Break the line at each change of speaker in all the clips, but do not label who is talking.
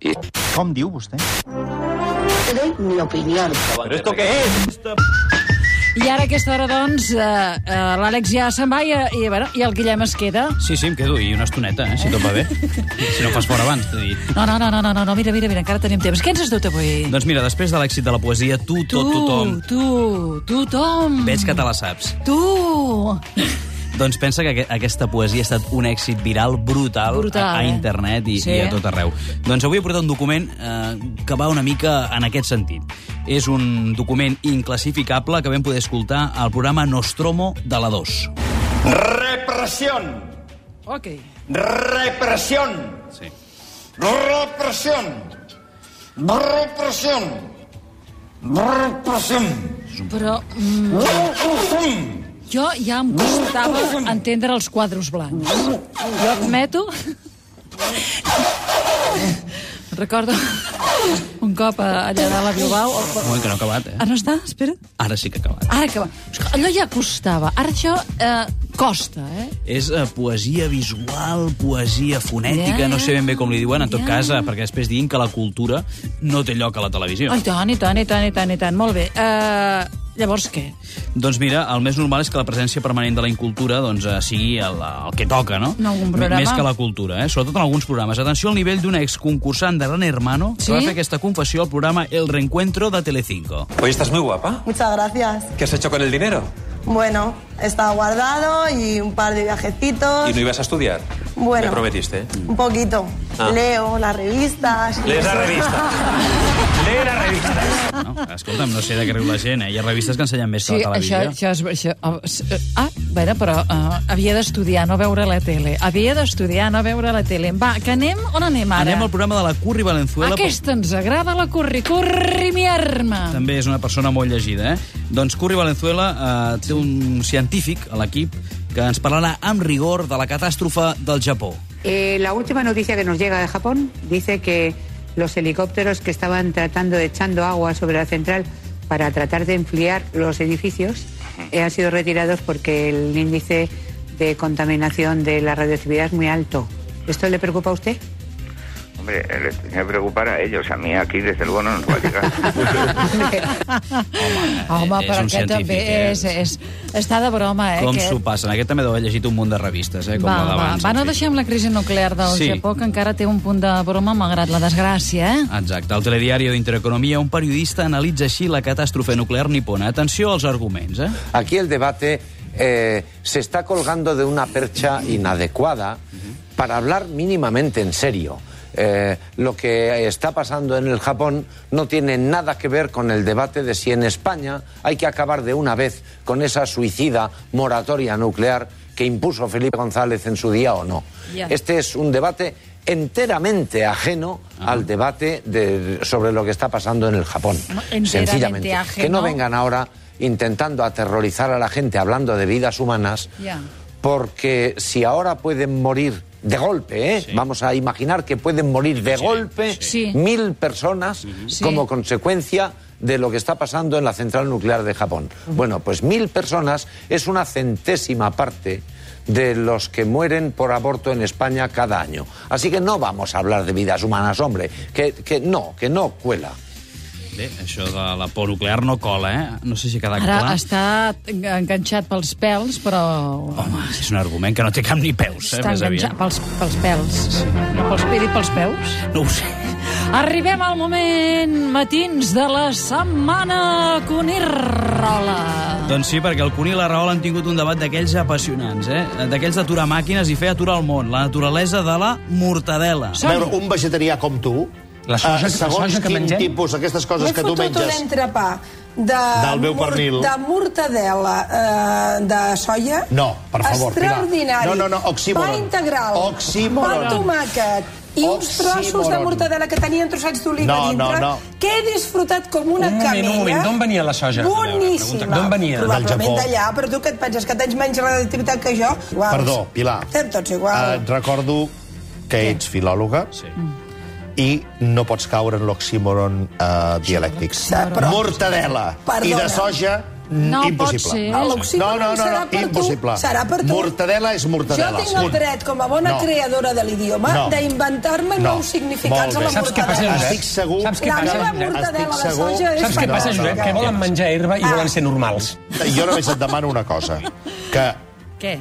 I...
Com diu vostè?
Doy mi opinión.
Però esto què és?
I ara a aquesta hora, doncs, eh, eh, l'Àlex ja se'n va i, i, bueno, i el Guillem es queda.
Sí, sí, em quedo, i una estoneta, eh, si tot va bé. si no fas fora abans, t'he dit.
No, no, no, no, no, no, no, mira, mira, mira, encara tenim temps. Què ens has dut avui?
Doncs mira, després de l'èxit de la poesia, tu,
tu,
tot, tothom,
tu, tothom.
veig que te la saps.
Tu!
Doncs pensa que aqu- aquesta poesia ha estat un èxit viral brutal,
Brutal,
a, a
eh?
internet i,
Sí.
i a tot arreu. Doncs avui he portat un document eh, que va una mica en aquest sentit. És un document inclassificable que vam poder escoltar al programa Nostromo de la 2.
Represión.
Ok.
Represión.
Sí.
Represión. Represión. Represión.
Però mm,
Represión.
jo ja em costava entendre els quadros blancs. Jo admeto... Recordo un cop a- allà a la Bilbao...
Un moment que no ha acabat, eh?
Ah, no està? Espera.
Ara sí que ha acabat.
Ara que va... Escolta, Allò ja costava. Ara això eh, costa, eh?
És eh, poesia visual, poesia fonètica,
Ja,
no sé ben bé com li diuen, en tot
ja.
cas, eh, perquè després diguin que la cultura no té lloc a la televisió.
Ai, tant, i tant, i tant, i tant, i tant. Molt bé. Eh, llavors què?
Doncs mira, el més normal és que la presència permanent de la incultura doncs, eh, sigui el, el que toca, no?
En algun programa.
Més que la cultura, eh? sobretot en alguns programes. Atenció al nivell d'una exconcursant de Gran Hermano
Sí?
que va fer aquesta confessió al programa El Reencuentro de Telecinco.
Hoy estás muy guapa.
Muchas gracias.
¿Qué has hecho con el dinero?
Bueno, estaba guardado y un par de viajecitos.
¿Y no ibas a estudiar?
Ah. Bueno.
Me prometiste. ¿eh?
Un poquito.
Ah.
Leo las revistas.
Lees la revista. Lee la revista.
No? Escolta'm, no sé de què riu la gent, eh? Hi ha revistes que ensenyen més que la
això, això,
televisió.
és, això oh, s- eh, Ah, bueno, però eh, havia d'estudiar, no veure la tele. Havia d'estudiar, no veure la tele. Va, que anem... On anem ara?
Anem al programa de la Curri Valenzuela.
Aquesta ens agrada, la curri, curri, mi arma.
També és una persona molt llegida, eh? Doncs Curri Valenzuela eh, té un científic a l'equip que ens parlarà amb rigor de la catàstrofe del Japó.
Eh, la última noticia que nos llega de Japón dice que los helicópteros que estaban tratando de echando agua sobre la central para tratar de enfriar los edificios eh, han sido retirados porque el índice de contaminación de la radioactividad es muy alto. ¿Esto le preocupa a usted?
Hombre, eh, les tenía que preocupar a ellos. A mí aquí, desde luego, no nos va a llegar.
Home,
és
però
un
aquest també
científic, eh?
és, és... Està de broma, eh?
Com
aquest.
s'ho passen? Aquest també deu haver llegit un munt de revistes, eh? Com
va,
la
va,
d'abans.
va,
en
no
fi.
deixem la crisi nuclear del
Sí.
Japó, que encara té un punt de broma, malgrat la desgràcia, eh?
Exacte. Al telediario d'Intereconomia, un periodista analitza així la catàstrofe nuclear nipona. Atenció als arguments, eh?
Aquí el debate eh, se está colgando de una percha inadecuada para hablar mínimamente en serio. Eh, lo que está pasando en el Japón no tiene nada que ver con el debate de si en España hay que acabar de una vez con esa suicida moratoria nuclear que impuso Felipe González en su día o no.
Ya.
Este es un debate enteramente ajeno al debate de- sobre lo que está pasando en el Japón.
Enteramente
Sencillamente. Que no
ajeno.
vengan ahora intentando aterrorizar a la gente hablando de vidas humanas,
Ya.
porque si ahora pueden morir de golpe, ¿eh? vamos a imaginar que pueden morir de golpe
sí.
mil personas
Sí.
como consecuencia de lo que está pasando en la central nuclear de Japón. Bueno, pues mil personas es una centésima parte de los que mueren por aborto en España cada año. Así que no vamos a hablar de vidas humanas, hombre, que, que no, que no cuela.
Bé, això de la por nuclear no cola, eh? No sé si ha quedat
Ara
clar.
està enganxat pels pèls, però...
Home, és un argument que no té cap ni peus, eh?
està
Oh, Més aviat.
enganxat pels, pels pèls. No pels, he dit pels peus.
No ho sé.
Arribem al moment matins de la setmana Conirrola.
Doncs sí, perquè el Cuní i la Rahola han tingut un debat d'aquells apassionants, eh? D'aquells d'aturar màquines i fer aturar el món. La naturalesa de la mortadela.
Som-
veure, un vegetarià com tu,
La soja-
eh,
la
segons
soja que
quin
mengem?
tipus, aquestes coses
M'he
que tu
fotut un
menges...
entrepà de,
Del meu pernil.
de mortadela eh, de soia.
No, per favor, Pilar.
Extraordinari.
No, no, no, oxímoron.
Pa integral.
Oxímoron.
Pa amb tomàquet. I uns
Oxímoron.
trossos de mortadela que tenien trossets d'oliva
No, no,
dintre,
no.
que he disfrutat com una
Un moment,
camella.
un moment. D'on venia la soja? A veure,
Boníssima.
pregunta. D'on venia?
Del Japó.
Probablement d'allà, però tu què et penses, que tens menys radioactivitat que jo? Iguals.
Perdó, Pilar. Eh,
Estem tots igual.
Et recordo que ets filòloga
Sí.
i no pots caure en l'oxímoron eh, dialèctic.
Sí, però-
Mortadela
Perdona.
i de soja
No pot
impossible.
ser.
No,
A
no,
l'oxigen
no,
serà
no,
per tu,
impossible.
serà per tu.
Mortadela és
Jo
mortadela.
tinc el
punt.
dret, com a bona
No.
creadora de l'idioma,
No.
d'inventar-me
No.
nous significats
Molt
a
bé.
la
Saps què
mortadela.
passa, Estic segur...
Saps què
La
passa,
meva
Josep?
mortadela
Estic
de
segur-
soja és
Saps què
No,
passa,
no,
Josep?
no.
Que
Ah.
volen menjar herba i volen ser normals.
Jo només et demano una cosa, que
Què?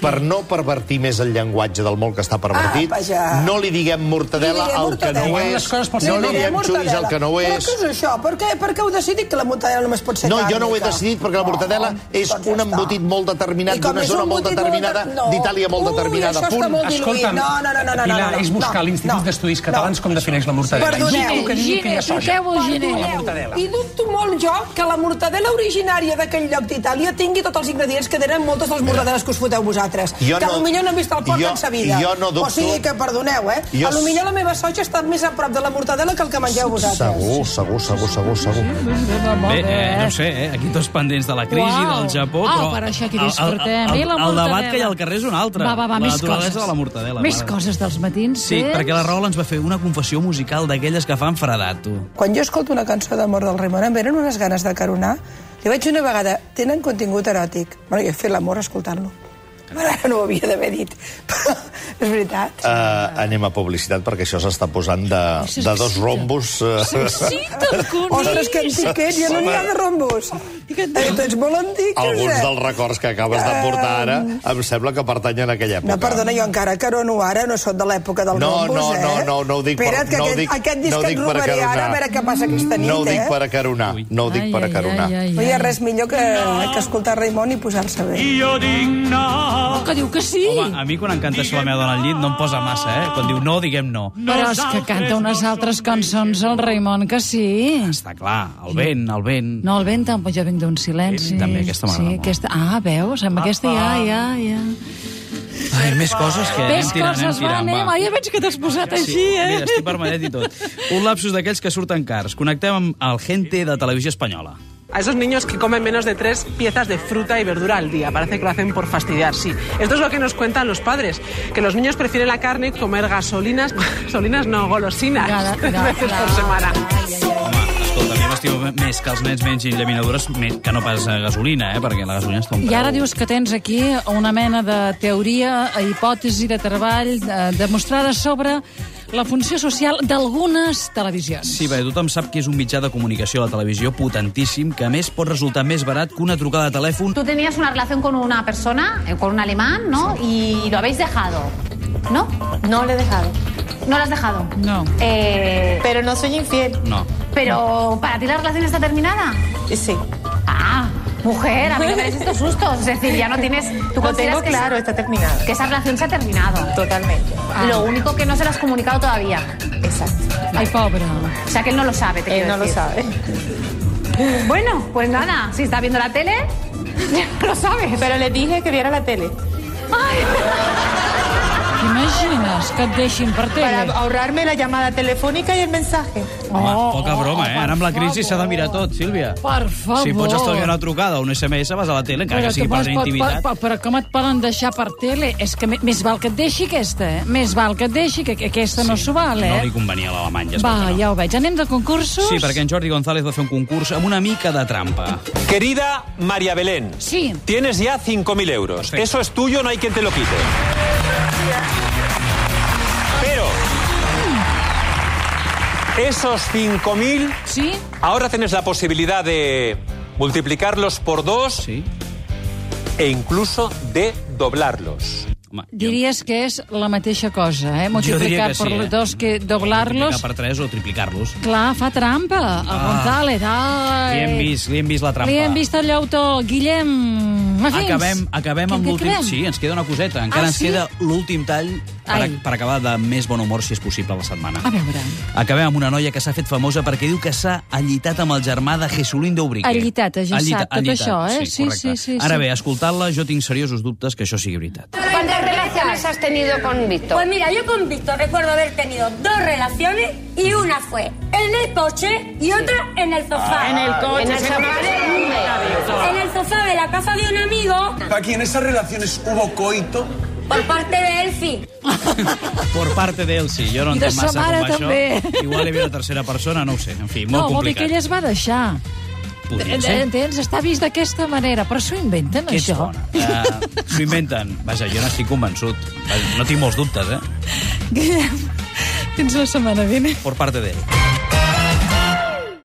per no pervertir més el llenguatge del molt que està pervertit,
Ah, vaja.
no li diguem mortadela
Li diré
al que no
mortadela.
és,
Les coses
no
pel seu
li
nom.
diguem xurris al que no
Però
és.
què és això? Per què, per què heu decidit que la mortadela només pot ser
No,
càrnica?
jo no ho he decidit perquè la mortadela és
doncs ja
un
està.
embotit molt determinat,
I com
d'una
és
zona
un
molt
embotit
determinada,
de- no.
d'Itàlia molt
Ui,
determinada,
això
punt.
està molt diluït.
Escolta'm,
No, no, no, no, no,
Pilar,
no, no,
és buscar
no,
l'Institut
no,
d'Estudis Catalans
no.
com defineix la mortadela. I
Perdoneu.
dubto que digui que hi ha soja.
Porteu el giner.
Perdoneu, I dubto molt jo que la mortadela originària d'aquell lloc d'Itàlia tingui tots els ingredients que tenen moltes de les mortadeles que us foteu vosaltres.
Jo
que
no-
potser no han vist el porc
jo-
en sa vida.
jo no dubto-
O sigui que perdoneu, eh?
Jo-
Jo... Potser la meva soja està més a prop de la mortadela que el que mengeu vosaltres.
Segur, segur, segur, segur, segur.
Molt
Bé, eh, no
eh?
ho sé, eh? aquí tots pendents de la crisi,
Uau.
del Japó...
Au,
però
Ah, per això aquí
el- el-
disfrutem.
El,
I
el,
la
el debat
mortadela.
que hi ha al carrer és un altre.
Va, va, va,
la
més
naturalesa
coses.
de la mortadela.
Més
va.
coses dels matins. eh?
Sí,
tens?
perquè la Raül ens va fer una confessió musical d'aquelles que fan fredat, tu.
Quan jo escolto una cançó d'amor del Raimon, em venen unes ganes de caronar. Li vaig dir una vegada, tenen contingut eròtic. Bueno, jo he fet l'amor escoltant-lo. Bueno, ara no ho havia d'haver dit. Però és veritat.
Uh, anem a publicitat perquè això s'està posant de, de dos rombos. Uh,
Sí, te'l
Ostres,
coneix.
que antiquet, ja no n'hi ha de rombos. Eh, tu ets molt antic,
alguns
Josep.
dels records que acabes de portar ara em sembla que pertanyen a aquella època.
No, perdona, jo encara carono ara, no sóc de l'època del
No,
rombos,
no,
eh?
no, no, no ho dic per-
Espera't, que
no ho
aquest,
dic-
aquest disc
no ho
que
dic
et
per
robaré ara,
acaronar.
a veure què passa aquesta nit,
No ho dic
eh?
per acaronar, no ho dic per acaronar.
No hi ha res millor que, que escoltar Raimon i posar-se bé.
Oh, que diu que sí.
Home, a mi quan em canta Sola meva dona al llit no em posa massa, eh? Quan diu no, diguem no.
Però és que canta unes altres cançons el Raimon, que sí.
Està clar, el vent, el vent...
No, el vent tampoc, jo vinc d'un silenci.
Vent també, aquesta m'agrada
sí,
molt.
aquesta... Ah, veus? Amb aquesta ja, ja, ja.
Ai, més coses que
Ves
anem tirant, anem
coses, va,
tirant,
anem.
va.
Ai, ja veig que t'has posat així, eh?
Mira, estic vermellet i tot. Un lapsus d'aquells que surten cars. Connectem amb el Gente de Televisió Espanyola.
A esos niños que comen menos de tres piezas de fruta y verdura al día. Parece que lo hacen por fastidiar, sí. Esto es lo que nos cuentan los padres, que los niños prefieren la carne y comer gasolinas, gasolinas no, golosinas,
Claro,
tres
claro,
veces
claro.
por semana.
Home, escolta, a mi m'estimo més que els nens mengin llaminadures més que no pas eh, gasolina, eh? Perquè la gasolina està un
I
preu.
ara dius que tens aquí una mena de teoria, eh, hipòtesi de treball eh, demostrada sobre la funció social d'algunes televisions.
Sí, perquè tothom sap que és un mitjà de comunicació a la televisió potentíssim, que a més pot resultar més barat que una trucada de telèfon.
Tú tenías una relación con una persona, eh, con un alemán, ¿no? Y lo habéis dejado, ¿no?
No le he dejado.
No lo has dejado.
No.
Eh,
Pero no soy infiel.
No.
pero para ti la relación está terminada.
Sí.
Ah, mujer, a mí me parece estos sustos. Es decir, ya no tienes. Tú
Lo
consideras
tengo
que,
claro, está terminado.
que esa relación se ha terminado. Ah.
Totalmente.
Lo único que no se lo has comunicado todavía.
Exacto.
Ai, pobre.
O sea que él no lo sabe, te
Él
quiero
no lo
decir.
sabe.
Bueno, pues nada, si está viendo la tele, ya lo sabes.
Pero le dije que viera la tele.
T'imagines que et deixin per
Para
tele?
ahorrarme la llamada telefònica i el mensaje.
Home, poca
oh,
broma,
oh,
eh?
per
Ara amb la crisi
favor.
s'ha de mirar tot, Sílvia.
Per favor.
Si pots estalviar una trucada o un SMS, vas a la tele, encara
Però
que sigui
tu
per
pots-
la
pot-
intimitat.
pot- Però com et poden deixar per tele? És que me- més val que et deixi aquesta, eh? Més val que et deixi, que que aquesta no s'ho val,
No
eh?
li convenia a l'Alemany, es veu
Va,
que no.
ja ho veig. Anem de concursos?
Sí, perquè en Jordi González va fer un concurs amb una mica de trampa.
Querida María Belén,
Sí.
tienes ya 5.000 euros.
Perfecto.
Eso es tuyo, no hay quien te lo quite. Pero esos 5.000,
Sí?
ahora tienes la posibilidad de multiplicarlos por dos
Sí?
e incluso de doblarlos.
Home, jo-
Diries que és la mateixa cosa, eh? Multiplicar
que
per
sí, eh?
dos que doblar-los...
Multiplicar per 3 o triplicar-los.
Clar, fa trampa, el González. Ai.
Li hem vist, li hem vist la trampa.
Li hem vist el llautó. Guillem, afins.
Acabem, acabem
Què-
amb
què
l'últim...
quedem?
Sí, ens queda una coseta. Encara
Ah,
ens
sí?
queda l'últim tall per,
Ai. Ah.
per acabar de més bon humor, si és possible, la setmana.
A veure.
Acabem amb una noia que s'ha fet famosa perquè diu que s'ha allitat amb el germà de Jesulín d'Ubrique.
Allitat, ja
Allita-
sap tot això, eh?
Sí,
Sí, sí,
correcte.
sí,
Ara
sí.
bé, escoltant-la, jo tinc seriosos dubtes que això sigui veritat.
¿Cuántas relaciones has tenido con Víctor?
Pues mira, yo con Víctor recuerdo haber tenido dos relaciones y una fue en el coche y otra en el sofá. en el coche, en el sofá. En el sofá de la casa de un amigo
Aquí en esas relaciones hubo coito.
por parte de Elfi.
Por parte d'ell, sí. Jo no
I de
entenc massa
sa mare,
com va
també.
això. Igual hi havia una tercera persona, no ho sé. En fi,
No,
molt
vol dir
complicat.
que ell es va deixar.
podria ser.
Entens? Eh, Està vist d'aquesta manera, però s'ho inventen,
Que ets
això.
bona. Eh, S'ho inventen. Vaja, jo n'estic convençut. Vaja, No tinc molts dubtes, eh?
Guillem, fins la setmana vinent.
Por parte d'ell.